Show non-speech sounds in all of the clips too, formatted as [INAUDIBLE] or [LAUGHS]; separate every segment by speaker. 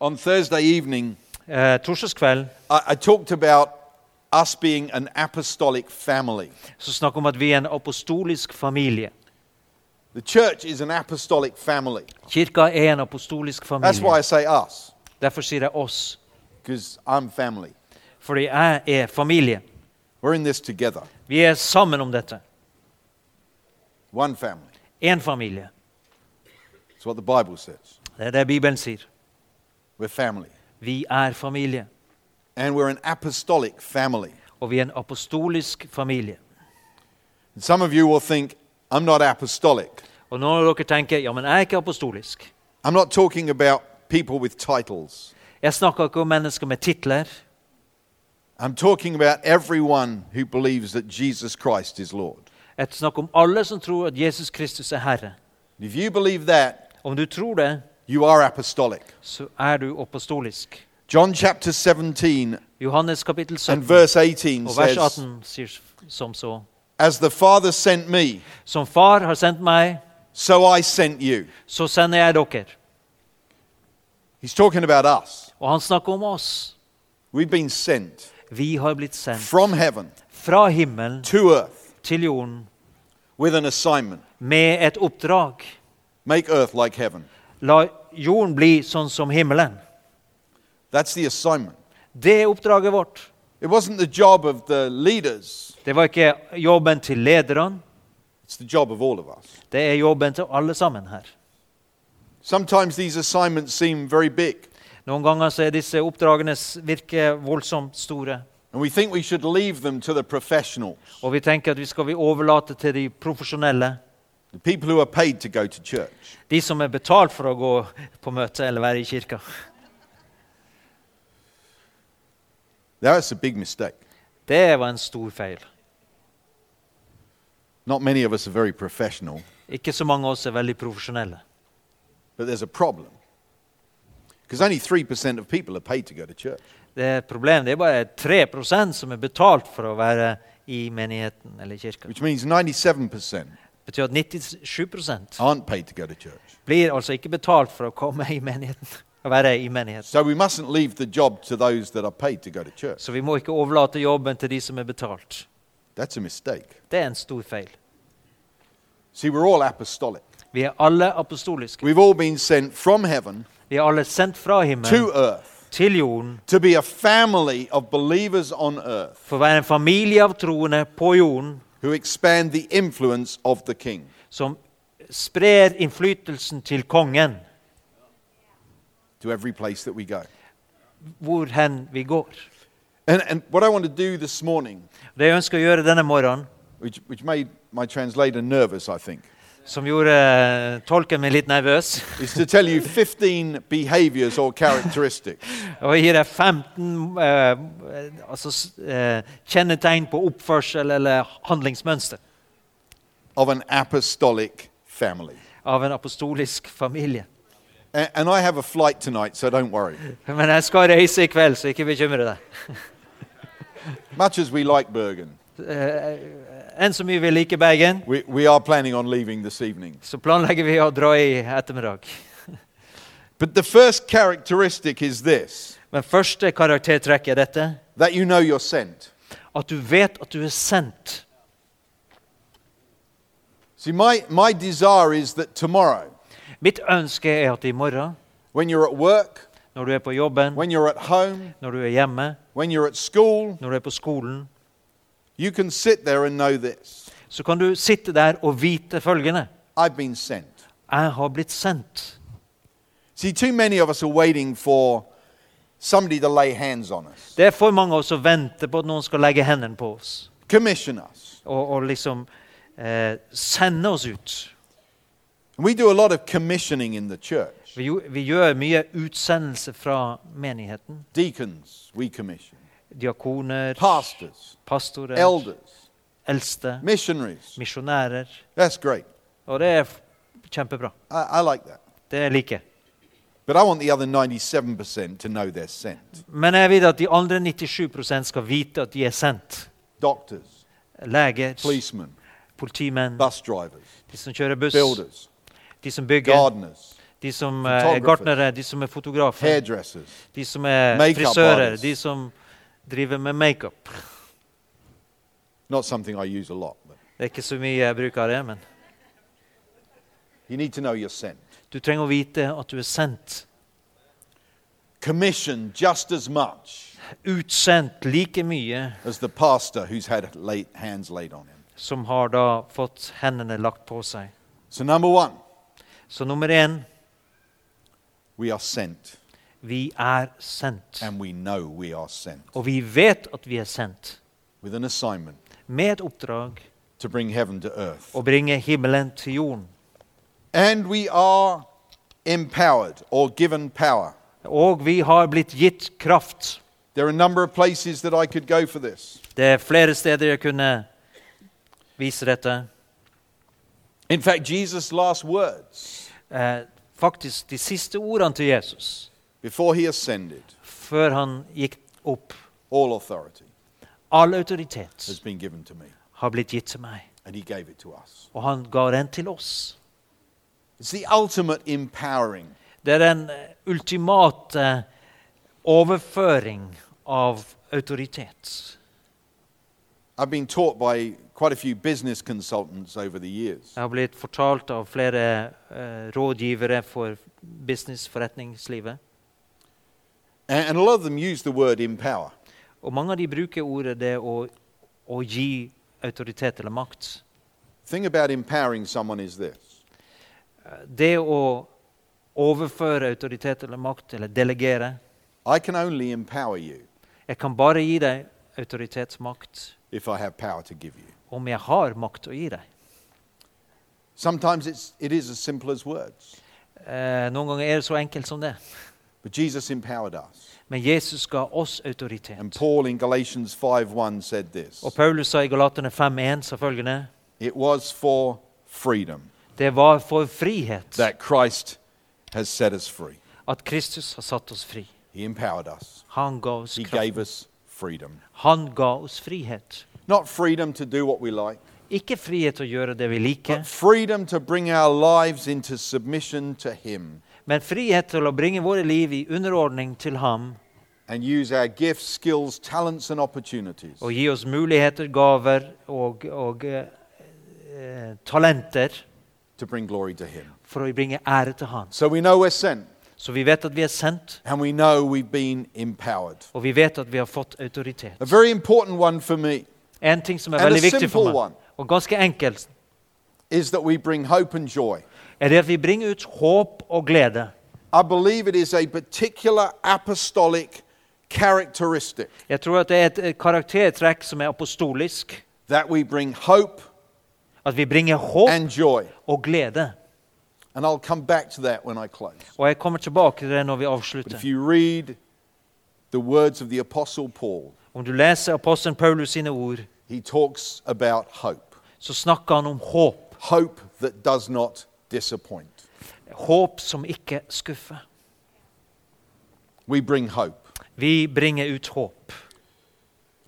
Speaker 1: On Thursday evening,
Speaker 2: Eh, Torsdagskvelden
Speaker 1: I, I talked about us being an apostolic family.
Speaker 2: så snakk om at vi er en apostolisk familie.
Speaker 1: The church is an apostolic family.
Speaker 2: Kirka er en apostolisk
Speaker 1: That's why I
Speaker 2: familie.
Speaker 1: say us,
Speaker 2: Derfor sier jeg oss,
Speaker 1: because I'm family.
Speaker 2: fordi jeg er familie.
Speaker 1: We're in this together,
Speaker 2: Vi er sammen om dette.
Speaker 1: one family.
Speaker 2: Én familie.
Speaker 1: That's what the Bible says.
Speaker 2: Det er det Bibelen sier.
Speaker 1: We're family.
Speaker 2: Vi er familie,
Speaker 1: And we're an apostolic family.
Speaker 2: og vi er en apostolisk familie.
Speaker 1: And some of you will think, I'm not apostolic.
Speaker 2: Og når dere tenker ja, men jeg er ikke apostolisk
Speaker 1: I'm not talking about people with titles.
Speaker 2: Jeg snakker ikke om mennesker med titler.
Speaker 1: I'm talking about everyone who believes that Jesus Christ is Lord.
Speaker 2: Jeg snakker om alle som tror at Jesus Kristus er Herre.
Speaker 1: If you believe that,
Speaker 2: Om du tror det,
Speaker 1: you are apostolic.
Speaker 2: så er du apostolisk.
Speaker 1: John chapter 17
Speaker 2: Johannes kapittel
Speaker 1: and
Speaker 2: 17
Speaker 1: verse 18
Speaker 2: og vers
Speaker 1: says,
Speaker 2: 18 sier som så.
Speaker 1: As the Father sent me,
Speaker 2: Som far har sendt meg,
Speaker 1: so I sent you.
Speaker 2: så sender jeg dere.
Speaker 1: He's talking about us.
Speaker 2: Og han snakker om oss.
Speaker 1: We've been sent
Speaker 2: Vi har blitt sendt
Speaker 1: from heaven
Speaker 2: fra himmelen
Speaker 1: to earth
Speaker 2: til jorden
Speaker 1: with an assignment
Speaker 2: med et oppdrag.
Speaker 1: make earth like heaven.
Speaker 2: La jorden bli sånn som himmelen.
Speaker 1: That's the assignment.
Speaker 2: Det er oppdraget vårt.
Speaker 1: It wasn't the job of the leaders,
Speaker 2: Det var ikke jobben til lederne.
Speaker 1: it's the job of all of us.
Speaker 2: Det er jobben til alle sammen her.
Speaker 1: Sometimes these assignments seem very big,
Speaker 2: Noen ganger så er disse oppdragene s- virker voldsomt store.
Speaker 1: and we think we should leave them to the professionals,
Speaker 2: Og vi tenker at vi skal vi overlate til de profesjonelle.
Speaker 1: the people who are paid to go to church.
Speaker 2: De som er betalt for å gå på møte eller være i kirka.
Speaker 1: That's a big mistake.
Speaker 2: Det var en stor feil.
Speaker 1: Not many of us are very professional,
Speaker 2: Ikke så mange av oss er veldig profesjonelle.
Speaker 1: but there's a problem. Because only 3% of people are paid to go to church.
Speaker 2: Det er et problem. Det er bare 3 som er betalt for å være i menigheten eller i kirka.
Speaker 1: which means 97%
Speaker 2: Det betyr at 97
Speaker 1: aren't paid to go to church.
Speaker 2: blir altså ikke betalt for å komme i menigheten. [LAUGHS] Å være i menigheten.
Speaker 1: So we mustn't leave the job to those that are paid to go to church.
Speaker 2: Så vi må ikke overlate jobben til de som er betalt.
Speaker 1: That's a mistake.
Speaker 2: Det er en stor feil.
Speaker 1: See, we're all apostolic.
Speaker 2: Vi er alle apostoliske.
Speaker 1: We've all been sent from heaven
Speaker 2: Vi er alle sendt fra
Speaker 1: to
Speaker 2: himmelen
Speaker 1: earth
Speaker 2: til jorden
Speaker 1: to be a family of believers on earth
Speaker 2: for å være en familie av troende på jorden
Speaker 1: who expand the influence of the King.
Speaker 2: som sprer innflytelsen til kongen
Speaker 1: To every place that we go.
Speaker 2: hvor hen vi går.
Speaker 1: And, and what I want to do this morning,
Speaker 2: Det jeg ønsker å gjøre denne morgenen,
Speaker 1: which, which made my translator nervous, I think,
Speaker 2: som gjorde eh, tolken min litt nervøs, [LAUGHS]
Speaker 1: is to tell you 15 behaviors or characteristics
Speaker 2: og jeg gir deg 15 eh, altså, s- eh, kjennetegn på oppførsel eller handlingsmønster
Speaker 1: of an apostolic family.
Speaker 2: av en apostolisk familie.
Speaker 1: A- And I have a flight tonight, so don't worry.
Speaker 2: Men jeg skal reise i kveld, så ikke bekymre deg.
Speaker 1: Much as we like Bergen,
Speaker 2: Enn så mye vi liker Bergen,
Speaker 1: we, we are planning on leaving this evening.
Speaker 2: så planlegger vi å dra i ettermiddag.
Speaker 1: But the first characteristic is this
Speaker 2: Men første karaktertrekk er dette.
Speaker 1: that you know you're sent.
Speaker 2: At du vet at du er sendt.
Speaker 1: See, my, my desire is that tomorrow,
Speaker 2: Mitt ønske er at i morgen,
Speaker 1: when you're at work,
Speaker 2: når du er på jobben,
Speaker 1: when you're at home,
Speaker 2: når du er hjemme,
Speaker 1: when you're at school,
Speaker 2: når du er på skolen,
Speaker 1: you can sit there and know this
Speaker 2: så kan du sitte der og vite følgende.
Speaker 1: I've been sent.
Speaker 2: Jeg har blitt sendt.
Speaker 1: See, too many of us are waiting for somebody to lay hands on us,
Speaker 2: Det er for mange av oss som venter på at noen skal legge hendene på oss
Speaker 1: commission us.
Speaker 2: og, og liksom eh, sende oss ut.
Speaker 1: And we do a lot of commissioning in the church.
Speaker 2: Vi, jo- vi gjør mye utsendelse fra menigheten.
Speaker 1: Deacons, we commission.
Speaker 2: Diakoner,
Speaker 1: Pastors,
Speaker 2: pastorer,
Speaker 1: elders,
Speaker 2: eldste,
Speaker 1: missionaries.
Speaker 2: misjonærer.
Speaker 1: That's great.
Speaker 2: Og det er f- kjempebra.
Speaker 1: I, I like that.
Speaker 2: Det liker jeg.
Speaker 1: But I want the other 97% to know they're sent.
Speaker 2: Men jeg vil at de andre 97 skal vite at de er sendt.
Speaker 1: Doctors,
Speaker 2: Leger,
Speaker 1: policemen,
Speaker 2: politimenn,
Speaker 1: bus drivers,
Speaker 2: de som kjører buss,
Speaker 1: builders,
Speaker 2: de som bygger,
Speaker 1: gardeners,
Speaker 2: de som eh, er
Speaker 1: Photographer.
Speaker 2: gartnere, de som er fotografer,
Speaker 1: hairdressers,
Speaker 2: de som er
Speaker 1: Makeup
Speaker 2: frisører,
Speaker 1: artists.
Speaker 2: de som driver med makeup.
Speaker 1: not something I use a lot. But
Speaker 2: Det er ikke så mye jeg bruker av det, men
Speaker 1: you need to know you're sent.
Speaker 2: du trenger å vite at du er sendt.
Speaker 1: Commissioned just as much
Speaker 2: Utsendt like mye
Speaker 1: as the pastor who's had late, hands laid on him.
Speaker 2: som har da fått hendene lagt på seg.
Speaker 1: So, number one,
Speaker 2: Så nummer én
Speaker 1: we are sent,
Speaker 2: vi er sendt.
Speaker 1: and we know we are sent
Speaker 2: Og vi vet at vi er sendt
Speaker 1: with an assignment
Speaker 2: med et oppdrag
Speaker 1: to bring heaven to earth.
Speaker 2: å bringe himmelen til jorden.
Speaker 1: And we are empowered or given power.
Speaker 2: Og vi har blitt gitt kraft.
Speaker 1: There are a number of places that I could go for this.
Speaker 2: Det er flere steder jeg kunne vise dette.
Speaker 1: In fact, Jesus' last words
Speaker 2: Eh, faktisk de siste ordene til Jesus
Speaker 1: before he ascended,
Speaker 2: før han gikk opp.
Speaker 1: all authority
Speaker 2: All autoritet
Speaker 1: has been given to me,
Speaker 2: har blitt gitt til meg,
Speaker 1: and he gave it to us.
Speaker 2: og han ga den til oss.
Speaker 1: It's the ultimate empowering.
Speaker 2: Det er den eh, ultimate overføring av autoritet.
Speaker 1: I've been taught by quite a few business consultants over the years
Speaker 2: Jeg har blitt fortalt av flere eh, rådgivere for businessforretningslivet.
Speaker 1: And, and a lot of them use the word empower.
Speaker 2: Og mange av de bruker ordet det å, å gi autoritet eller makt.
Speaker 1: The thing about empowering someone is this
Speaker 2: Eh, Det å overføre autoritet eller makt eller delegere
Speaker 1: I can only empower you
Speaker 2: Jeg kan bare gi deg autoritetsmakt
Speaker 1: if I have power to give you.
Speaker 2: om jeg har makt å gi deg.
Speaker 1: Sometimes it's, it is as simple as words,
Speaker 2: Eh, noen ganger er det så enkelt som det.
Speaker 1: but Jesus empowered us.
Speaker 2: Men Jesus ga oss
Speaker 1: And
Speaker 2: autoritet.
Speaker 1: Paul in Galatians 5:1 said this
Speaker 2: Og Paulus sa i Galaterne 5.1 sa følgende
Speaker 1: It was for freedom
Speaker 2: Det var for frihet
Speaker 1: that Christ has set us free.
Speaker 2: at Kristus har satt oss fri.
Speaker 1: He empowered us,
Speaker 2: Han ga oss
Speaker 1: He
Speaker 2: kraft.
Speaker 1: gave us freedom.
Speaker 2: Han ga oss frihet.
Speaker 1: Not freedom to do what we like,
Speaker 2: Ikke frihet til å gjøre det vi liker,
Speaker 1: but freedom to bring our lives into submission to Him
Speaker 2: men frihet til å bringe våre liv i underordning til ham
Speaker 1: and use our gifts, skills, talents, and opportunities
Speaker 2: og gi oss muligheter, gaver og, og eh, eh, talenter
Speaker 1: to bring glory to Him.
Speaker 2: for å bringe ære til Hans.
Speaker 1: So we know we're sent
Speaker 2: Så vi vet at vi er sendt,
Speaker 1: and we know we've been empowered.
Speaker 2: og vi vet at vi har fått autoritet.
Speaker 1: A very important one for me
Speaker 2: En ting som er
Speaker 1: And a
Speaker 2: veldig viktig for
Speaker 1: simple one.
Speaker 2: meg, og ganske enkelt,
Speaker 1: is that we bring hope and joy.
Speaker 2: er det at vi bringer ut håp og glede.
Speaker 1: I believe it is a particular apostolic characteristic
Speaker 2: Jeg tror at det er et eh, karaktertrekk som er apostolisk,
Speaker 1: that we bring hope
Speaker 2: at vi bringer håp
Speaker 1: and joy.
Speaker 2: og glede.
Speaker 1: And I'll come back to that when I close.
Speaker 2: Og jeg kommer tilbake til det når vi
Speaker 1: But if
Speaker 2: avslutter.
Speaker 1: you read the words of the Apostle Paul,
Speaker 2: Om du leser apostelen Paulus sine ord,
Speaker 1: he talks about hope
Speaker 2: så snakker han om håp.
Speaker 1: hope that does not disappoint.
Speaker 2: Håp som ikke skuffer.
Speaker 1: We bring hope.
Speaker 2: Vi bringer ut håp.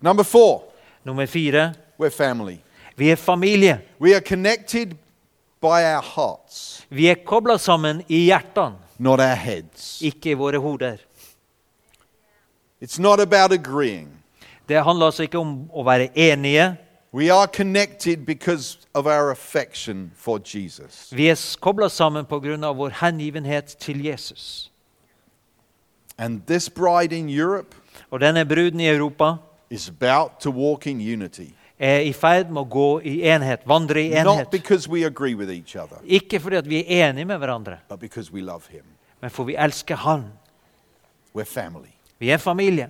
Speaker 1: Number four,
Speaker 2: Nummer fire
Speaker 1: we're family.
Speaker 2: vi er familie.
Speaker 1: We are connected by our hearts,
Speaker 2: Vi er kobla sammen i hjertene,
Speaker 1: not our heads.
Speaker 2: ikke i våre hoder.
Speaker 1: It's not about agreeing.
Speaker 2: Det handler altså ikke om å være enige.
Speaker 1: We are connected because of our affection for Jesus.
Speaker 2: Vi er kobla sammen pga. vår hengivenhet til Jesus.
Speaker 1: And this bride in Europe
Speaker 2: Og denne bruden i Europa
Speaker 1: is about to walk in unity.
Speaker 2: er i ferd med å gå i enhet, vandre i
Speaker 1: Not
Speaker 2: enhet.
Speaker 1: because we agree with each other,
Speaker 2: Ikke fordi at vi er enige med hverandre,
Speaker 1: but because we love Him.
Speaker 2: men for vi elsker Han.
Speaker 1: We're family.
Speaker 2: Vi er familie.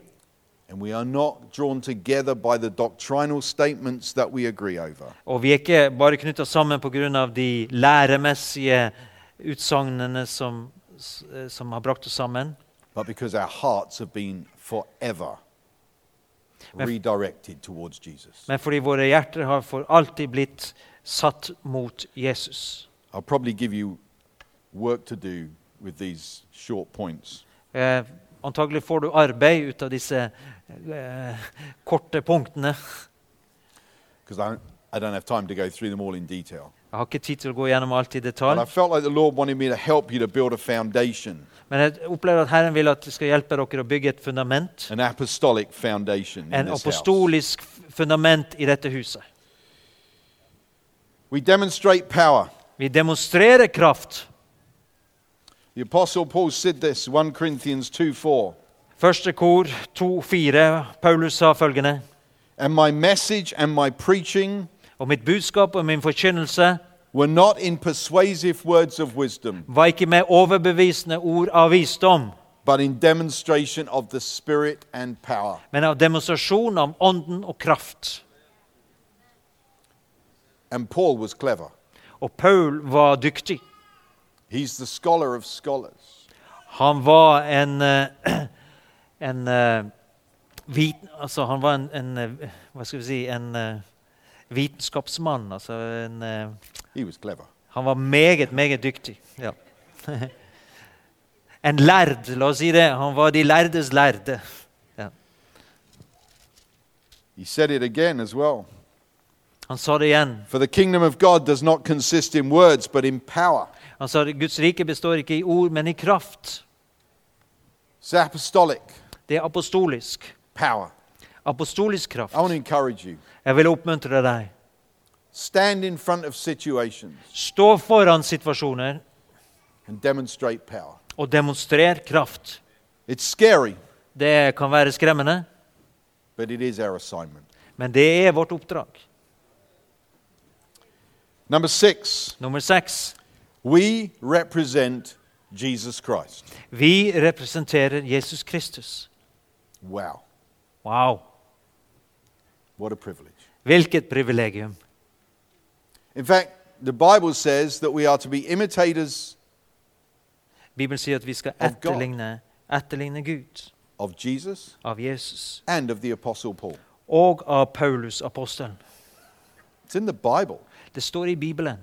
Speaker 1: And we are not drawn together by the doctrinal statements that we agree over.
Speaker 2: Og vi er ikke bare knytta sammen pga. de læremessige utsagnene som, s- eh, som har brakt oss sammen,
Speaker 1: but because our hearts have been forever
Speaker 2: Men-
Speaker 1: redirected towards Jesus.
Speaker 2: men fordi våre hjerter har for alltid blitt satt mot Jesus.
Speaker 1: I'll probably give you work to do with these short points.
Speaker 2: Eh, antagelig får du arbeid ut av disse eh, korte punktene.
Speaker 1: because I, I don't have time to go through them all in detail.
Speaker 2: Jeg har ikke tid til å gå gjennom alt i
Speaker 1: And I
Speaker 2: detalj,
Speaker 1: felt like the Lord wanted me to help you to build a foundation,
Speaker 2: men jeg opplever at Herren vil at jeg skal hjelpe dere å bygge et fundament.
Speaker 1: an apostolic foundation. In
Speaker 2: En
Speaker 1: this house.
Speaker 2: apostolisk f- fundament i dette huset.
Speaker 1: We demonstrate power.
Speaker 2: Vi demonstrerer kraft.
Speaker 1: The Apostle Paul said this 1 Corinthians 2 4.
Speaker 2: Første kor 2-4. Paulus sa følgende.:
Speaker 1: And my message and my preaching
Speaker 2: Og mitt budskap og min forkynnelse
Speaker 1: were not in persuasive words of wisdom,
Speaker 2: var ikke med overbevisende ord av visdom,
Speaker 1: but in demonstration of the Spirit and power.
Speaker 2: men av demonstrasjon av ånden og kraft.
Speaker 1: And Paul was clever.
Speaker 2: Og Paul var dyktig.
Speaker 1: He's the scholar of scholars.
Speaker 2: Han var en eh, [CLEARS THROAT] en eh, vit, altså han var en, en eh, hva skal vi si en eh, vitenskapsmann. Altså en eh,
Speaker 1: He was clever.
Speaker 2: Han var meget, meget dyktig. Ja. [LAUGHS] En lærd, la oss si det. Han var de lærdes lærde. Ja.
Speaker 1: He said it again as well.
Speaker 2: Han sa det igjen.
Speaker 1: For the kingdom of God does not consist in words, but in power.
Speaker 2: Han sa at Guds rike består ikke i ord, men i kraft.
Speaker 1: It's apostolic
Speaker 2: Det er apostolisk.
Speaker 1: power.
Speaker 2: Apostolisk kraft.
Speaker 1: I want to encourage you.
Speaker 2: Jeg vil oppmuntre deg.
Speaker 1: Stand in front of situations
Speaker 2: Stå foran situasjoner
Speaker 1: and demonstrate power.
Speaker 2: og demonstrer kraft.
Speaker 1: It's scary,
Speaker 2: Det kan være skremmende,
Speaker 1: but it is our assignment.
Speaker 2: men det er vårt oppdrag.
Speaker 1: Number six,
Speaker 2: Nummer seks.
Speaker 1: we represent Jesus Christ.
Speaker 2: Vi representerer Jesus Kristus.
Speaker 1: Wow,
Speaker 2: Wow.
Speaker 1: what a privilege.
Speaker 2: Hvilket privilegium.
Speaker 1: In fact, the Bible says that we are to be imitators
Speaker 2: Bibelen sier at vi skal
Speaker 1: Of God.
Speaker 2: etterligne, etterligne Gud
Speaker 1: of Jesus
Speaker 2: av Jesus
Speaker 1: and of the Apostle Paul.
Speaker 2: og av Paulus apostelen.
Speaker 1: It's in the Bible.
Speaker 2: Det står i Bibelen.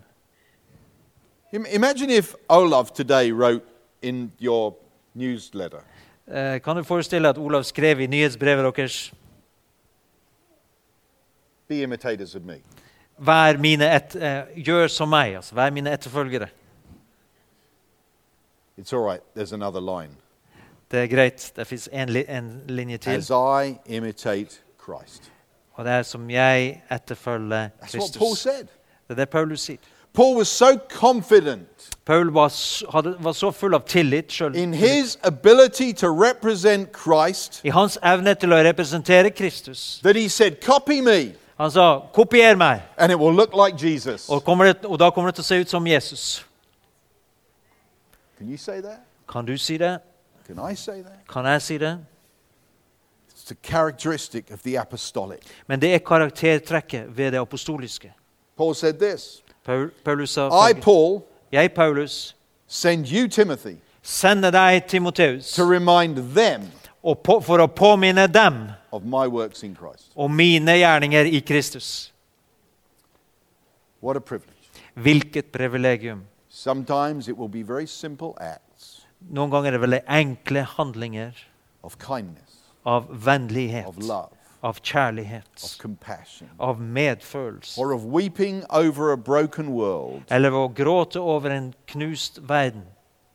Speaker 1: Im- Imagine if Olaf today wrote in your newsletter,
Speaker 2: Eh, kan du forestille at Olav skrev i nyhetsbrevet deres
Speaker 1: Be imitators of me.
Speaker 2: Vær mine et, eh, Gjør som meg, altså. Vær mine etterfølgere.
Speaker 1: It's all right, there's another line.
Speaker 2: Det er greit. Det fins en, li, en linje til.
Speaker 1: As I imitate Christ.
Speaker 2: Og det er som jeg etterfølger
Speaker 1: That's what Paul
Speaker 2: Kristus.
Speaker 1: said.
Speaker 2: Det er det Paulus sier.
Speaker 1: Paul was so confident
Speaker 2: Paul var, s- hadde, var så full av tillit sjøl.
Speaker 1: in his ability to represent Christ
Speaker 2: I hans evne til å representere Kristus.
Speaker 1: that he said, Copy me,
Speaker 2: Han sa 'kopier meg',
Speaker 1: and it will look like Jesus.
Speaker 2: og, kommer det, og da kommer det til å se ut som Jesus.
Speaker 1: Can you say that?
Speaker 2: Kan du si det?
Speaker 1: Can I say that?
Speaker 2: Kan jeg si det?
Speaker 1: It's a characteristic of the apostolic.
Speaker 2: Men det er karaktertrekket ved det apostoliske.
Speaker 1: Paul said this
Speaker 2: Paul, Paulus sa
Speaker 1: I,
Speaker 2: følgende,
Speaker 1: Paul,
Speaker 2: Jeg, Paulus,
Speaker 1: send you, Timothy,
Speaker 2: sender deg Timoteus
Speaker 1: to remind them
Speaker 2: og på, for å påminne dem
Speaker 1: of my works in Christ.
Speaker 2: om mine gjerninger i Kristus.
Speaker 1: What a privilege.
Speaker 2: Hvilket privilegium.
Speaker 1: Sometimes it will be very simple acts
Speaker 2: Noen ganger er det veldig enkle handlinger
Speaker 1: of kindness,
Speaker 2: av vennlighet,
Speaker 1: of love,
Speaker 2: av kjærlighet,
Speaker 1: of compassion,
Speaker 2: av medfølelse,
Speaker 1: or of weeping over a broken world.
Speaker 2: eller ved å gråte over en knust verden.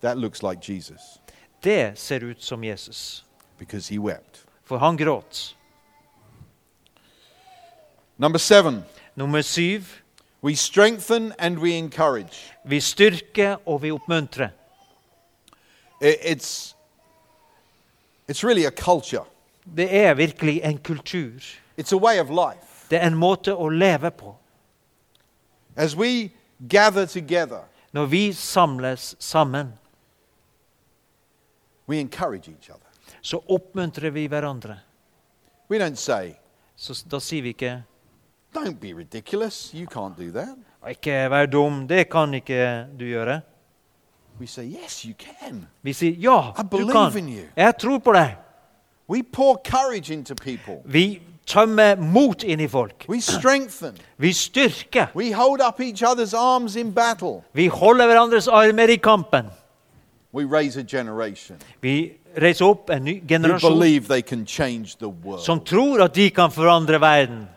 Speaker 1: That looks like Jesus
Speaker 2: Det ser ut som Jesus,
Speaker 1: because he wept.
Speaker 2: for han gråt.
Speaker 1: Number seven,
Speaker 2: Nummer syv
Speaker 1: we strengthen and we encourage.
Speaker 2: Vi styrker og vi oppmuntrer.
Speaker 1: I- It's, it's really a culture,
Speaker 2: Det er virkelig en kultur.
Speaker 1: it's a way of life.
Speaker 2: Det er en måte å leve på.
Speaker 1: As we gather together,
Speaker 2: Når vi samles sammen,
Speaker 1: we encourage each other.
Speaker 2: så oppmuntrer vi hverandre.
Speaker 1: We don't say,
Speaker 2: Så s- da sier vi ikke
Speaker 1: don't be ridiculous, you can't do that.
Speaker 2: 'Ikke vær dum, det kan ikke du gjøre'.
Speaker 1: We say, yes, you can.
Speaker 2: Vi sier 'ja,
Speaker 1: I
Speaker 2: du
Speaker 1: believe in you.
Speaker 2: kan'. Jeg tror på deg.
Speaker 1: We pour courage into people,
Speaker 2: Vi tømmer mot inn i folk.
Speaker 1: we strengthen,
Speaker 2: Vi styrker.
Speaker 1: we hold up each other's arms in battle,
Speaker 2: Vi holder hverandres armer i kampen.
Speaker 1: we raise a generation
Speaker 2: Vi reiser opp en ny
Speaker 1: who
Speaker 2: generasjon
Speaker 1: believe they can change the world.
Speaker 2: som tror at de kan forandre verden.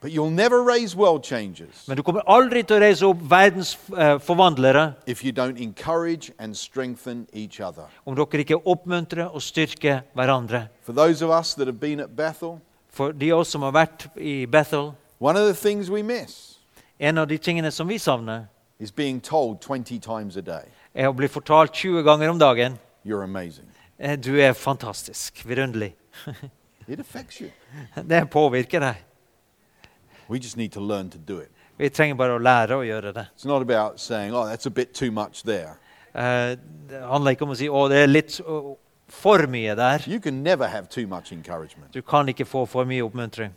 Speaker 1: But you'll never raise world changers
Speaker 2: Men du kommer aldri til å reise opp verdens eh, forvandlere
Speaker 1: if you don't encourage and strengthen each other.
Speaker 2: om dere ikke oppmuntrer og styrker hverandre.
Speaker 1: For those of us that have been at Bethel,
Speaker 2: For de av oss som har vært i Bethel,
Speaker 1: one of the things we miss
Speaker 2: en av de tingene som vi savner,
Speaker 1: is being told 20 times a day,
Speaker 2: er å bli fortalt 20 ganger om dagen
Speaker 1: You're amazing.
Speaker 2: eh, du er fantastisk, vidunderlig. [LAUGHS]
Speaker 1: It affects you.
Speaker 2: Det påvirker deg.
Speaker 1: We just need to learn to do it.
Speaker 2: Vi trenger bare å lære å gjøre det.
Speaker 1: It's not about saying, Oh, that's a bit too much there.
Speaker 2: Eh, Det handler ikke om å si å, det er litt å, for mye der.
Speaker 1: You can never have too much encouragement.
Speaker 2: Du kan ikke få for mye oppmuntring.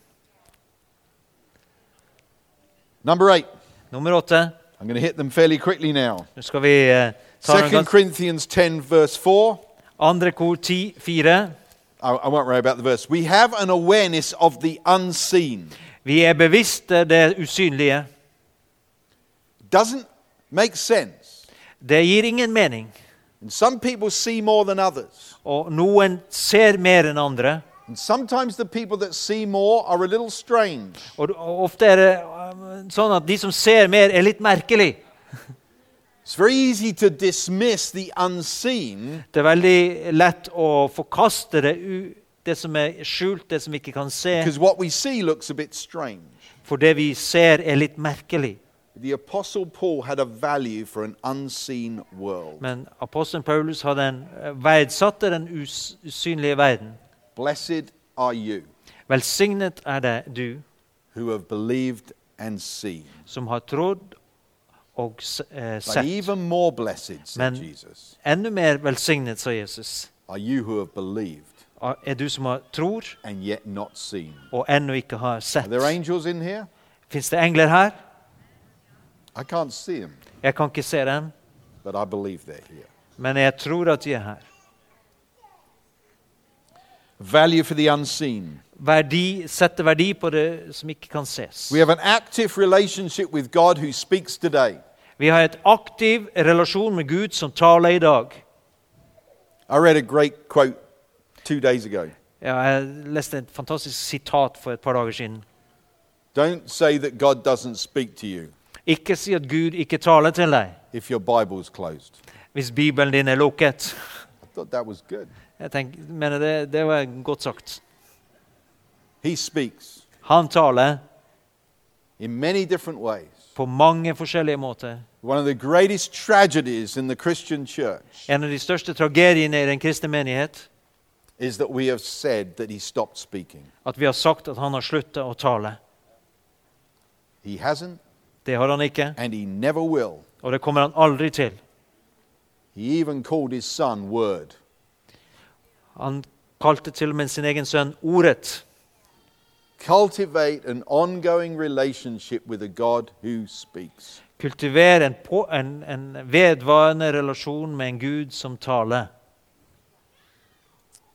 Speaker 1: Number eight.
Speaker 2: Nummer åtte.
Speaker 1: I'm going to hit them fairly quickly now.
Speaker 2: Nå skal vi eh, ta noen
Speaker 1: 2
Speaker 2: ganske
Speaker 1: Corinthians 10, verse 4.
Speaker 2: Andre kor 10, 4.
Speaker 1: I, I won't worry about the verse. We have an awareness of the unseen.
Speaker 2: Vi er bevisste det usynlige.
Speaker 1: Doesn't make sense.
Speaker 2: Det gir ingen mening.
Speaker 1: And some people see more than others.
Speaker 2: Og noen ser mer enn andre.
Speaker 1: And sometimes the people that see more are a little strange.
Speaker 2: Og og ofte er det eh, sånn at de som ser mer, er litt merkelig.
Speaker 1: It's very easy to dismiss the unseen
Speaker 2: Det er veldig lett å forkaste det, u det som er skjult, det som ikke kan se.
Speaker 1: because what we see looks a bit strange.
Speaker 2: For det vi ser, er litt merkelig.
Speaker 1: The Apostle Paul had a value for an unseen world.
Speaker 2: Men apostelen Paulus hadde en eh, verdsatte den us usynlige verden.
Speaker 1: Blessed are you
Speaker 2: Velsignet er det du
Speaker 1: who have believed and seen.
Speaker 2: som har trodd og s- eh,
Speaker 1: But
Speaker 2: sett.
Speaker 1: even more blessed, said
Speaker 2: Men-
Speaker 1: Jesus,
Speaker 2: Enda mer velsignet, sa Jesus,
Speaker 1: are you who have believed
Speaker 2: er er du som har tror
Speaker 1: and yet not seen.
Speaker 2: og ennå ikke har
Speaker 1: Are
Speaker 2: sett.
Speaker 1: there angels in here?
Speaker 2: Fins det engler her?
Speaker 1: I can't see them,
Speaker 2: Jeg kan ikke se dem,
Speaker 1: but I believe they're here.
Speaker 2: men jeg tror at de er her.
Speaker 1: Value for the unseen.
Speaker 2: Verdi, sette verdi på det som ikke kan ses.
Speaker 1: We have an active relationship with God who speaks today.
Speaker 2: Vi har et aktiv relasjon med Gud som taler i dag.
Speaker 1: I read a great quote two days ago.
Speaker 2: Ja, Jeg leste et fantastisk sitat for et par dager siden.
Speaker 1: Don't say that God doesn't speak to you
Speaker 2: Ikke si at Gud ikke taler til deg
Speaker 1: if your Bible's closed.
Speaker 2: hvis Bibelen din er lukket.
Speaker 1: I thought that was good.
Speaker 2: Jeg tenker, mener det, det var godt sagt.
Speaker 1: He speaks
Speaker 2: Han taler
Speaker 1: in many different ways.
Speaker 2: på mange forskjellige måter.
Speaker 1: One of the greatest tragedies in the Christian church
Speaker 2: En av de største tragediene i den kristne menighet
Speaker 1: is that we have said that he stopped speaking.
Speaker 2: at vi har sagt at han har slutta å tale.
Speaker 1: He hasn't,
Speaker 2: Det har han ikke,
Speaker 1: and he never will.
Speaker 2: og det kommer han aldri til.
Speaker 1: He even called his son Word.
Speaker 2: Han kalte til og med sin egen sønn Ordet.
Speaker 1: Cultivate an ongoing relationship with a God who speaks.
Speaker 2: Kultivere en, på, en, en vedvarende relasjon med en Gud som taler.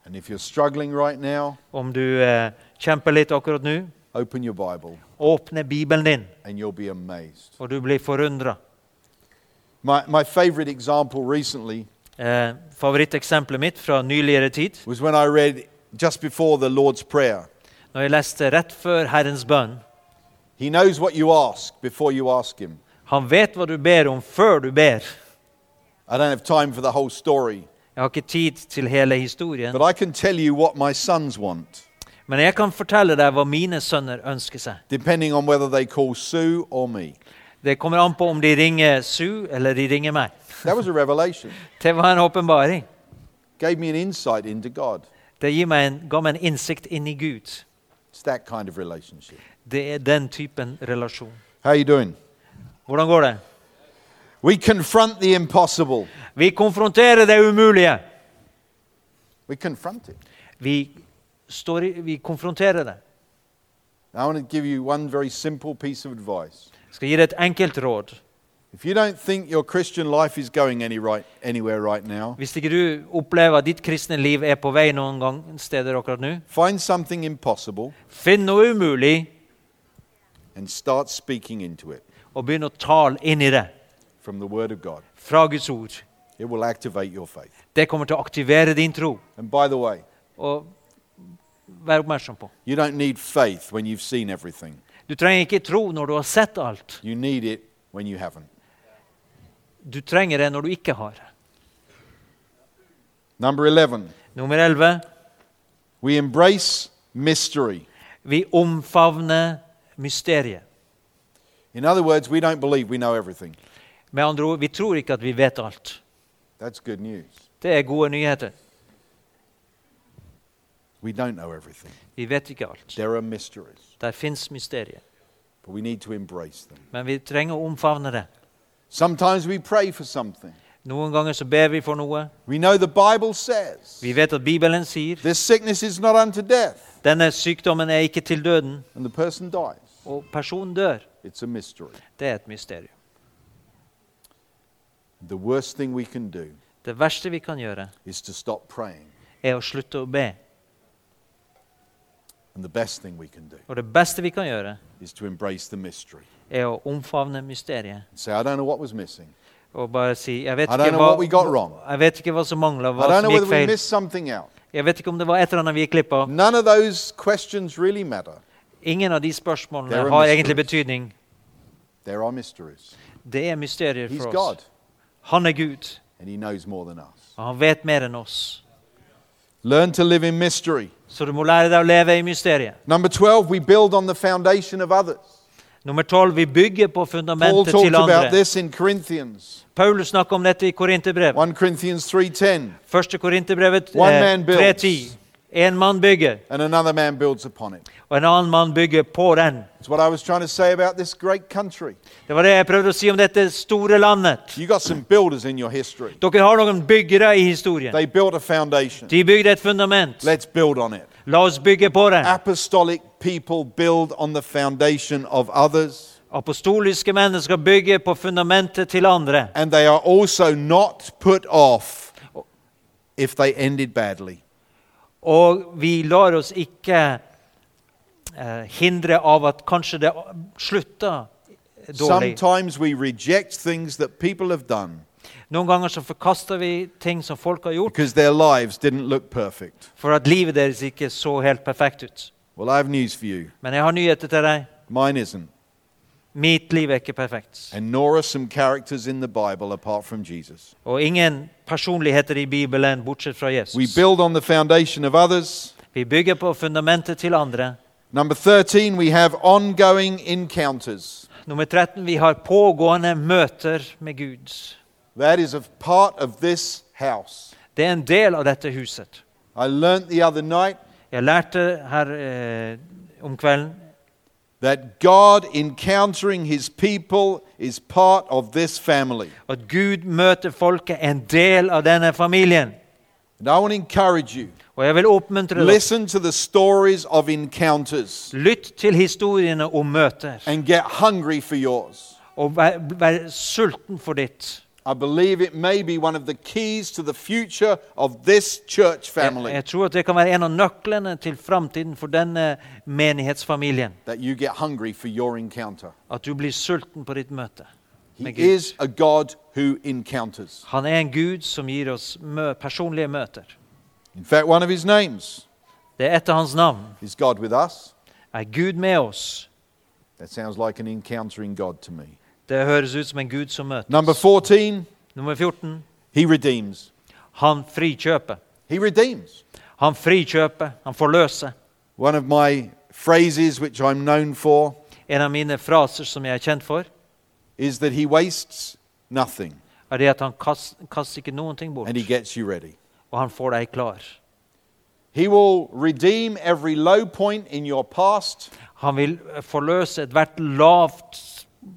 Speaker 1: And if you're struggling right now,
Speaker 2: Om du eh, kjemper litt akkurat nå,
Speaker 1: open your Bible
Speaker 2: åpne Bibelen din,
Speaker 1: and you'll be amazed.
Speaker 2: og du blir forundra.
Speaker 1: My, my favorite example recently
Speaker 2: Eh, favoritteksempelet mitt fra nyligere tid,
Speaker 1: was when I read just before the Lord's Prayer.
Speaker 2: når jeg leste rett før Herrens bønn.
Speaker 1: He knows what you ask before you ask Him.
Speaker 2: Han vet hva du ber om før du ber.
Speaker 1: I don't have time for the whole story,
Speaker 2: Jeg har ikke tid til hele historien,
Speaker 1: but I can tell you what my sons want,
Speaker 2: men jeg kan fortelle deg hva mine sønner ønsker seg.
Speaker 1: depending on whether they call Sue or me.
Speaker 2: Det kommer an på om de ringer Sue eller de ringer meg.
Speaker 1: That was a revelation.
Speaker 2: Det var en åpenbaring.
Speaker 1: Gave me an insight into God.
Speaker 2: Det gir meg en, ga meg en innsikt inn i Gud.
Speaker 1: It's that kind of relationship.
Speaker 2: Det er den typen relasjon.
Speaker 1: How are you doing?
Speaker 2: Hvordan går det?
Speaker 1: We confront the impossible.
Speaker 2: Vi konfronterer det umulige.
Speaker 1: We confront it.
Speaker 2: Vi, står i, vi konfronterer det.
Speaker 1: I want to give you one very simple piece of advice.
Speaker 2: Jeg skal gi deg et enkelt råd.
Speaker 1: If you don't think your Christian life is going any right, anywhere right now,
Speaker 2: Hvis ikke du opplever at ditt kristne liv er på vei noen gang steder akkurat nå,
Speaker 1: find something impossible
Speaker 2: finn noe umulig
Speaker 1: and start speaking into it
Speaker 2: og begynn å tale inn i det
Speaker 1: from the Word of God.
Speaker 2: fra Guds ord.
Speaker 1: It will activate your faith.
Speaker 2: Det kommer til å aktivere din tro.
Speaker 1: And by the way,
Speaker 2: Og vær oppmerksom på
Speaker 1: you don't need faith when you've seen everything.
Speaker 2: Du Du trenger ikke tro når du har sett alt.
Speaker 1: You need it when you haven't.
Speaker 2: Du trenger det når du ikke har.
Speaker 1: Number 11,
Speaker 2: Nummer 11.
Speaker 1: we embrace mystery.
Speaker 2: Vi omfavner mysteriet.
Speaker 1: In other words, we don't believe we know everything.
Speaker 2: Med andre ord, vi tror ikke at vi vet alt.
Speaker 1: That's good news.
Speaker 2: Det er gode nyheter.
Speaker 1: We don't know everything.
Speaker 2: Vi vet ikke alt.
Speaker 1: There are mysteries,
Speaker 2: Der fins mysteriet.
Speaker 1: but we need to embrace them.
Speaker 2: Men vi trenger å omfavne det.
Speaker 1: Sometimes we pray for something.
Speaker 2: Noen ganger så ber vi for noe.
Speaker 1: We know the Bible says
Speaker 2: Vi vet at Bibelen sier
Speaker 1: this sickness is not unto death,
Speaker 2: denne sykdommen er ikke til døden,
Speaker 1: and the person dies.
Speaker 2: og personen dør.
Speaker 1: It's a mystery.
Speaker 2: Det er et mysterium.
Speaker 1: The worst thing we can do
Speaker 2: Det verste vi kan gjøre,
Speaker 1: is to stop praying,
Speaker 2: er å slutte å be.
Speaker 1: and the best thing we can do
Speaker 2: Og det beste vi kan gjøre,
Speaker 1: is to embrace the mystery
Speaker 2: er å omfavne mysteriet.
Speaker 1: and say, I don't know what was missing.
Speaker 2: Og bare si jeg vet,
Speaker 1: I don't
Speaker 2: ikke
Speaker 1: know
Speaker 2: hva,
Speaker 1: what we got wrong.
Speaker 2: jeg vet ikke hva som mangla,
Speaker 1: I
Speaker 2: hva
Speaker 1: don't know
Speaker 2: som
Speaker 1: whether
Speaker 2: gikk
Speaker 1: we
Speaker 2: feil.
Speaker 1: missed something out.
Speaker 2: Jeg vet ikke om det var et eller annet vi gikk glipp av.
Speaker 1: None of those questions really matter.
Speaker 2: Ingen av
Speaker 1: There
Speaker 2: de
Speaker 1: are
Speaker 2: spørsmålene har egentlig
Speaker 1: mysteries.
Speaker 2: betydning.
Speaker 1: There are mysteries.
Speaker 2: Det er mysterier
Speaker 1: He's
Speaker 2: for oss.
Speaker 1: God,
Speaker 2: Han er Gud,
Speaker 1: and He knows more than us.
Speaker 2: og han vet mer enn oss.
Speaker 1: Learn to live in mystery.
Speaker 2: Så du må lære deg å leve i mysteriet.
Speaker 1: Number 12, we build on the foundation of others.
Speaker 2: Nummer tolv vi bygger på
Speaker 1: Paul
Speaker 2: fundamentet
Speaker 1: talks
Speaker 2: til
Speaker 1: about
Speaker 2: andre.
Speaker 1: this in Corinthians.
Speaker 2: Paulus snakker om dette i Korinterbrevet.
Speaker 1: 1 Corinthians 3:10,
Speaker 2: Første Korinterbrevet
Speaker 1: One
Speaker 2: eh,
Speaker 1: man builds.
Speaker 2: 3.10. En mann bygger,
Speaker 1: and another man builds upon it.
Speaker 2: og en annen mann bygger på den.
Speaker 1: It's what I was trying to say about this great country.
Speaker 2: Det var det jeg prøvde å si om dette store landet.
Speaker 1: You got some builders in your history.
Speaker 2: Dere har noen byggere i historien.
Speaker 1: They built a foundation.
Speaker 2: De bygde et fundament.
Speaker 1: Let's build on it.
Speaker 2: La oss bygge på det.
Speaker 1: Apostolic people build on the foundation of others,
Speaker 2: Apostoliske mennesker bygger på fundamentet til andre.
Speaker 1: and they are also not put off if they ended badly.
Speaker 2: Og vi lar oss ikke eh, hindre av at kanskje det slutter dårlig.
Speaker 1: Sometimes we reject things that people have done
Speaker 2: Noen ganger så forkaster vi ting som folk har gjort,
Speaker 1: because their lives didn't look perfect.
Speaker 2: for at livet deres ikke så helt perfekt ut.
Speaker 1: Well, I have news for you.
Speaker 2: Men jeg har nyheter til deg.
Speaker 1: Mine isn't.
Speaker 2: Mitt liv er ikke perfekt.
Speaker 1: And nor are some characters in the Bible apart from Jesus.
Speaker 2: Og ingen personligheter i Bibelen bortsett fra Jesus.
Speaker 1: We build on the foundation of others.
Speaker 2: Vi bygger på fundamentet til andre.
Speaker 1: Number 13, we have ongoing encounters.
Speaker 2: Nummer 13. Vi har pågående møter med Gud.
Speaker 1: That is a part of this house.
Speaker 2: Det er en del av dette huset.
Speaker 1: I learnt the other night
Speaker 2: Jeg lærte her eh, om kvelden
Speaker 1: that God encountering his people is part of this family.
Speaker 2: At Gud møter folket, en del av denne familien.
Speaker 1: And I want to encourage you
Speaker 2: Og jeg vil oppmuntre deg.
Speaker 1: listen to the stories of encounters
Speaker 2: Lytt til historiene om møter,
Speaker 1: and get hungry for yours.
Speaker 2: og vær, vær sulten for ditt.
Speaker 1: I believe it may be one of the keys to the future of this church
Speaker 2: Jeg,
Speaker 1: family.
Speaker 2: jeg tror at det kan være en av nøklene til framtiden for denne menighetsfamilien.
Speaker 1: that you get hungry for your encounter.
Speaker 2: At du blir sulten på ditt møte
Speaker 1: He
Speaker 2: med Gud.
Speaker 1: is a God who encounters.
Speaker 2: Han er en Gud som gir oss mø personlige møter.
Speaker 1: In fact, one of his names
Speaker 2: Det er etter hans navn.
Speaker 1: is God with us.
Speaker 2: Er Gud med oss?
Speaker 1: That sounds like an encountering God to me.
Speaker 2: Det høres ut som en Gud som møter.
Speaker 1: Number 14,
Speaker 2: Nummer 14.
Speaker 1: he redeems.
Speaker 2: Han frikjøper.
Speaker 1: He redeems.
Speaker 2: Han frikjøper. Han forløser.
Speaker 1: One of my phrases, which I'm known for,
Speaker 2: En av mine fraser som jeg er kjent for,
Speaker 1: is that he wastes nothing
Speaker 2: er det at han kast- kaster ikke noen ting bort,
Speaker 1: and he gets you ready.
Speaker 2: og han får deg klar.
Speaker 1: He will redeem every low point in your past
Speaker 2: Han vil eh, forløse ethvert lavt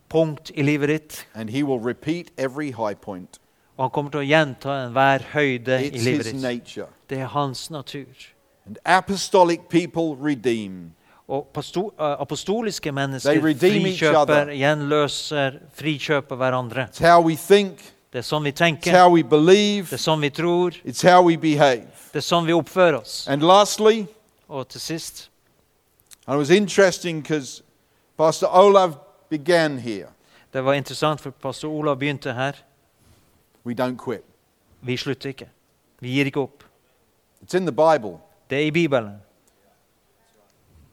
Speaker 2: punkt i livet ditt,
Speaker 1: and he will repeat every high point.
Speaker 2: og han kommer til å gjenta enhver høyde i
Speaker 1: It's
Speaker 2: livet
Speaker 1: his
Speaker 2: ditt.
Speaker 1: nature.
Speaker 2: Det er hans natur.
Speaker 1: And apostolic people redeem.
Speaker 2: Og pasto- eh, apostoliske
Speaker 1: They
Speaker 2: mennesker
Speaker 1: redeem each other.
Speaker 2: frikjøper, gjenløser, frikjøper hverandre.
Speaker 1: It's how we think.
Speaker 2: Det er sånn vi
Speaker 1: It's
Speaker 2: tenker,
Speaker 1: how we
Speaker 2: det er
Speaker 1: believe.
Speaker 2: sånn vi tror,
Speaker 1: It's how we behave.
Speaker 2: det er sånn vi oppfører oss.
Speaker 1: And lastly,
Speaker 2: Og til sist
Speaker 1: and it was interesting because Pastor Olav began here.
Speaker 2: Det var interessant, for pastor Olav begynte her.
Speaker 1: We don't quit.
Speaker 2: Vi slutter ikke. Vi gir ikke opp.
Speaker 1: It's in the Bible.
Speaker 2: Det er i Bibelen.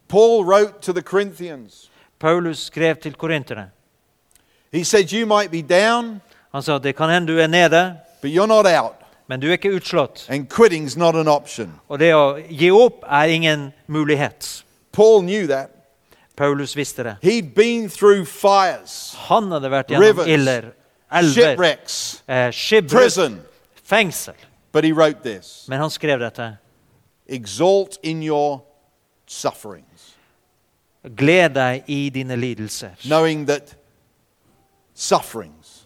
Speaker 1: Paul wrote to the Corinthians
Speaker 2: Paulus skrev til korinterne.
Speaker 1: He said, You might be down,
Speaker 2: Han sa det kan hende du er nede,
Speaker 1: but you're not out.
Speaker 2: men du er ikke utslått.
Speaker 1: And quitting's not an option.
Speaker 2: Og det å gi opp er ingen mulighet.
Speaker 1: Paul knew that.
Speaker 2: Paulus visste det.
Speaker 1: He'd been through fires,
Speaker 2: Han hadde vært gjennom
Speaker 1: Rivers.
Speaker 2: iller, elver,
Speaker 1: shipwrecks,
Speaker 2: eh, skipbrudd,
Speaker 1: prison.
Speaker 2: fengsel.
Speaker 1: But he wrote this
Speaker 2: Men han skrev dette.
Speaker 1: Exalt in your sufferings,
Speaker 2: Gled deg i dine lidelser.
Speaker 1: knowing that sufferings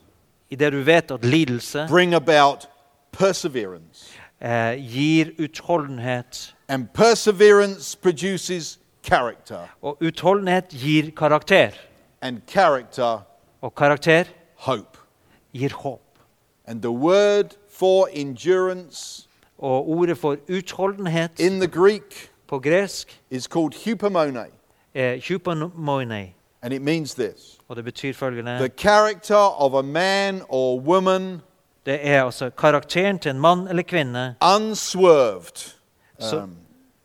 Speaker 2: I det du vet at lidelse
Speaker 1: bring about perseverance,
Speaker 2: eh, gir utholdenhet,
Speaker 1: and perseverance produces character,
Speaker 2: og utholdenhet gir karakter,
Speaker 1: and character,
Speaker 2: og karakter
Speaker 1: hope.
Speaker 2: gir håp.
Speaker 1: And the word for endurance
Speaker 2: Og ordet for utholdenhet
Speaker 1: in the Greek
Speaker 2: på gresk
Speaker 1: is called hupomone,
Speaker 2: er hypomoinei,
Speaker 1: and it means this
Speaker 2: Eh, og det betyr følgende
Speaker 1: the character of a man or woman
Speaker 2: Det er altså karakteren til en mann eller kvinne
Speaker 1: unswerved
Speaker 2: Så-
Speaker 1: um,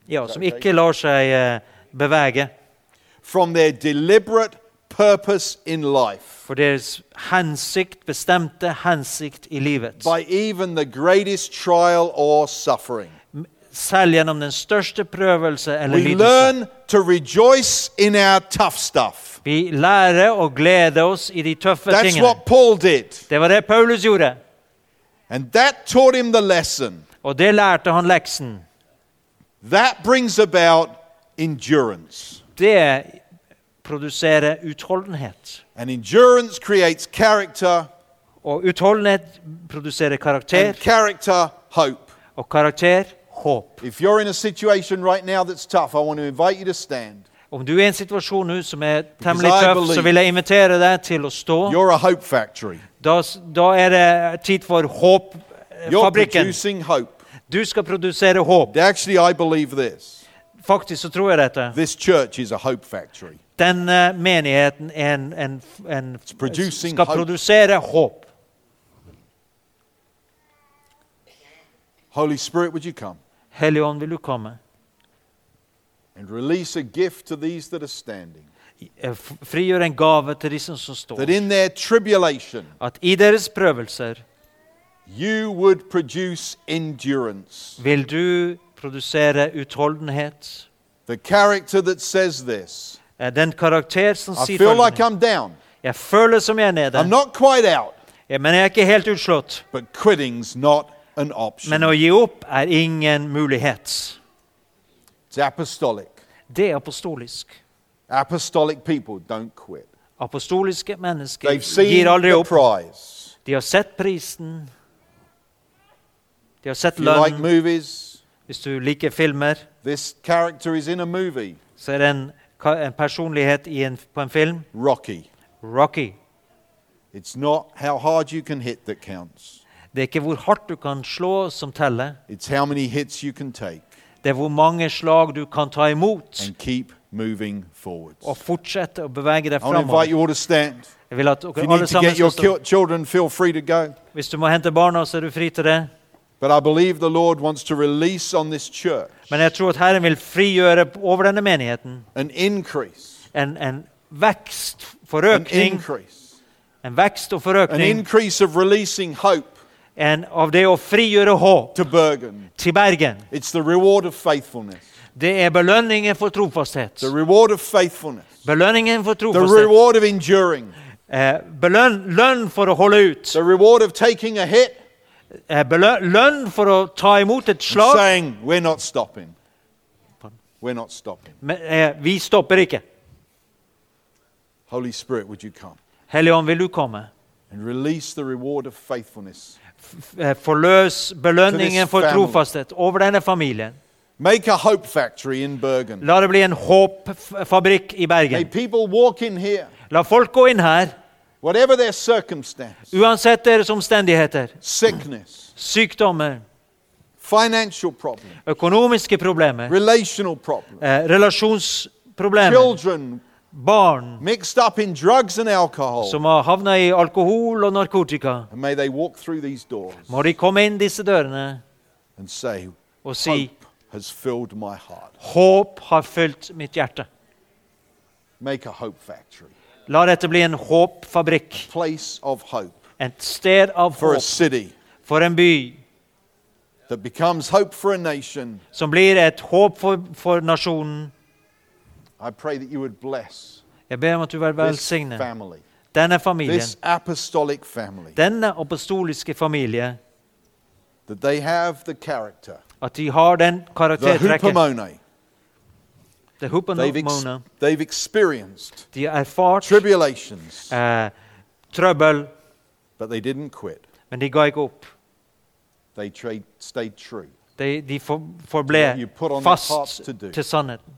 Speaker 2: ja, som ikke lar seg eh, bevege
Speaker 1: from their deliberate purpose in life
Speaker 2: for deres hensikt, bestemte hensikt i livet.
Speaker 1: by even the greatest trial or suffering.
Speaker 2: Selv gjennom den største prøvelse eller
Speaker 1: We
Speaker 2: lidelse.
Speaker 1: learn to rejoice in our tough stuff.
Speaker 2: Vi lærer å glede oss i de tøffe
Speaker 1: That's
Speaker 2: tingene.
Speaker 1: what Paul did.
Speaker 2: Det var det Paulus gjorde,
Speaker 1: And that taught him the lesson.
Speaker 2: og det lærte han leksen.
Speaker 1: That brings about endurance.
Speaker 2: Det produserer utholdenhet.
Speaker 1: And endurance creates character,
Speaker 2: Og utholdenhet produserer
Speaker 1: and
Speaker 2: karakter,
Speaker 1: character, hope.
Speaker 2: og karakter håp.
Speaker 1: If you're in a situation right now that's tough, I want to invite you to stand.
Speaker 2: Om du er i en situasjon nå som er
Speaker 1: Because
Speaker 2: temmelig
Speaker 1: I
Speaker 2: tøff,
Speaker 1: believe-
Speaker 2: så vil jeg invitere deg til å stå.
Speaker 1: You're a hope factory.
Speaker 2: Da, s- da er det tid for
Speaker 1: You're
Speaker 2: håpfabrikken.
Speaker 1: producing hope.
Speaker 2: Du skal produsere håp.
Speaker 1: Actually, I believe this.
Speaker 2: Faktisk så tror jeg dette.
Speaker 1: This church is a hope factory.
Speaker 2: Denne menigheten er en, en, en,
Speaker 1: producing
Speaker 2: skal
Speaker 1: hope.
Speaker 2: produsere håp.
Speaker 1: Holy Spirit, would you come
Speaker 2: Hellige Ånd, vil du komme?
Speaker 1: and release a gift to these that are standing?
Speaker 2: Eh, f- Frigjør en gave til de som som står.
Speaker 1: That in their tribulation,
Speaker 2: At i deres prøvelser
Speaker 1: you would produce endurance.
Speaker 2: vil du produsere utholdenhet.
Speaker 1: The character that says this
Speaker 2: Eh, Den karakter som
Speaker 1: I
Speaker 2: sier
Speaker 1: feel like
Speaker 2: følgende
Speaker 1: I'm down.
Speaker 2: Jeg føler som jeg er nede,
Speaker 1: I'm not quite out,
Speaker 2: eh, men jeg er ikke helt utslått.
Speaker 1: but quitting's not an
Speaker 2: Men å
Speaker 1: option.
Speaker 2: gi opp er ingen mulighet.
Speaker 1: It's apostolic.
Speaker 2: Det er apostolisk.
Speaker 1: Apostolic people don't quit.
Speaker 2: Apostoliske mennesker
Speaker 1: They've seen
Speaker 2: gir aldri
Speaker 1: the
Speaker 2: opp.
Speaker 1: prize.
Speaker 2: De har sett prisen. De har sett
Speaker 1: If you like
Speaker 2: lønn.
Speaker 1: movies,
Speaker 2: Hvis du liker filmer,
Speaker 1: this character is in a movie,
Speaker 2: så er det en, ka- en personlighet i en, på en film.
Speaker 1: Rocky.
Speaker 2: Rocky.
Speaker 1: It's not how hard you can hit that counts.
Speaker 2: Det er ikke hvor hardt du kan slå som teller.
Speaker 1: It's how many hits you can take
Speaker 2: Det er hvor mange slag du kan ta imot
Speaker 1: and keep moving forwards.
Speaker 2: og fortsette å bevege deg
Speaker 1: I want to invite
Speaker 2: framover.
Speaker 1: you all to stand.
Speaker 2: Jeg vil at
Speaker 1: If
Speaker 2: dere
Speaker 1: you need
Speaker 2: alle
Speaker 1: to
Speaker 2: sammen
Speaker 1: get
Speaker 2: skal
Speaker 1: your
Speaker 2: stå.
Speaker 1: ki- children, feel free to go.
Speaker 2: Hvis du må hente barna, så er du fri til det.
Speaker 1: But I believe the Lord wants to release on this church
Speaker 2: Men jeg tror at Herren vil frigjøre p- over denne menigheten
Speaker 1: an increase,
Speaker 2: en, en vekst,
Speaker 1: an
Speaker 2: forøkning,
Speaker 1: increase,
Speaker 2: en vekst og
Speaker 1: an
Speaker 2: forøkning
Speaker 1: increase of releasing hope
Speaker 2: en av det å frigjøre håp
Speaker 1: to Bergen.
Speaker 2: til Bergen.
Speaker 1: It's the reward of faithfulness.
Speaker 2: Det er belønningen for trofasthet.
Speaker 1: The reward of faithfulness.
Speaker 2: Belønningen for
Speaker 1: The
Speaker 2: trofasthet.
Speaker 1: reward of enduring.
Speaker 2: Eh, belønn, lønn for å holde ut.
Speaker 1: The reward of taking a hit
Speaker 2: Eh, belønn, lønn for å ta imot et
Speaker 1: and
Speaker 2: slag.
Speaker 1: saying, We're not stopping. We're not stopping.
Speaker 2: Men eh, vi stopper ikke.
Speaker 1: Holy Spirit, would you come
Speaker 2: Hellige Ånd, vil du komme?
Speaker 1: and release the reward of faithfulness?
Speaker 2: F- eh, Forløs belønningen for
Speaker 1: family.
Speaker 2: trofasthet over denne familien.
Speaker 1: Make a hope factory in Bergen.
Speaker 2: La det bli en håpfabrikk
Speaker 1: May
Speaker 2: i Bergen.
Speaker 1: people walk in here,
Speaker 2: La folk gå inn her,
Speaker 1: whatever their circumstance,
Speaker 2: uansett deres omstendigheter,
Speaker 1: sickness,
Speaker 2: sykdommer,
Speaker 1: financial problem,
Speaker 2: økonomiske problemer,
Speaker 1: relational problem,
Speaker 2: eh, relasjonsproblemer,
Speaker 1: children
Speaker 2: barn
Speaker 1: mixed up in drugs and alcohol.
Speaker 2: som har havna i alkohol og narkotika.
Speaker 1: And may they walk through these doors
Speaker 2: Må de komme inn disse dørene
Speaker 1: and say,
Speaker 2: og si
Speaker 1: Hope has filled my heart.
Speaker 2: Håp har fylt mitt hjerte.
Speaker 1: Make a hope factory.
Speaker 2: La dette bli en håpfabrikk.
Speaker 1: Place of hope
Speaker 2: Et sted av
Speaker 1: for a
Speaker 2: håp
Speaker 1: city
Speaker 2: for en by
Speaker 1: that becomes hope for a nation.
Speaker 2: som blir et håp for, for nasjonen.
Speaker 1: I pray that you would bless
Speaker 2: Jeg ber om at du vil
Speaker 1: this
Speaker 2: velsigne
Speaker 1: family,
Speaker 2: denne familien,
Speaker 1: this apostolic family,
Speaker 2: denne apostoliske familie,
Speaker 1: that they have the character,
Speaker 2: at de har den
Speaker 1: the
Speaker 2: karaktertrekket.
Speaker 1: hupomone.
Speaker 2: The
Speaker 1: They've, ex-
Speaker 2: hupomona.
Speaker 1: they've experienced
Speaker 2: De har erfart
Speaker 1: tribulations,
Speaker 2: eh, trøbbel,
Speaker 1: but they didn't quit.
Speaker 2: men de ga ikke opp.
Speaker 1: They trade, stayed true.
Speaker 2: De, de for, forble
Speaker 1: You put on their hearts
Speaker 2: fast
Speaker 1: to do.
Speaker 2: til sannheten.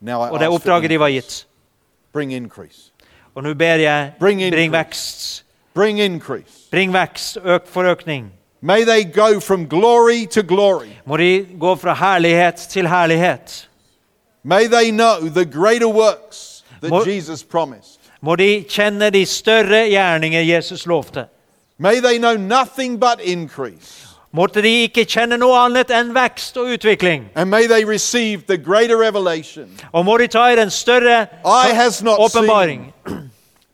Speaker 1: Now I
Speaker 2: Og det
Speaker 1: ask for
Speaker 2: oppdraget de var
Speaker 1: increase.
Speaker 2: gitt.
Speaker 1: Bring increase.
Speaker 2: Og nå ber jeg,
Speaker 1: Bring increase.
Speaker 2: bring vekst.
Speaker 1: Bring increase.
Speaker 2: Bring vekst, øk forøkning.
Speaker 1: May they go from glory to glory.
Speaker 2: Må de gå fra herlighet til herlighet.
Speaker 1: May they know the greater works that
Speaker 2: Mo-
Speaker 1: Jesus promised.
Speaker 2: Må de kjenne de større gjerninger Jesus lovte.
Speaker 1: May they know nothing but increase.
Speaker 2: Måtte de ikke kjenne noe annet enn vekst og utvikling.
Speaker 1: And may they receive the greater revelation.
Speaker 2: Og må de ta i den større
Speaker 1: Eye has not
Speaker 2: åpenbaring,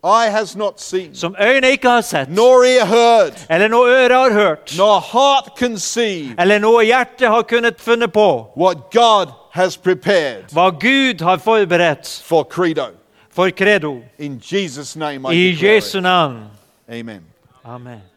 Speaker 1: Eye has not seen,
Speaker 2: som øynene ikke har sett,
Speaker 1: nor ear heard,
Speaker 2: eller noe øret har hørt,
Speaker 1: nor heart conceived
Speaker 2: eller noe hjertet har kunnet funnet på,
Speaker 1: what God has prepared
Speaker 2: hva Gud har forberedt
Speaker 1: for Credo.
Speaker 2: for credo.
Speaker 1: In Jesus' name I
Speaker 2: I
Speaker 1: declare it.
Speaker 2: Jesu navn.
Speaker 1: Amen.
Speaker 2: Amen.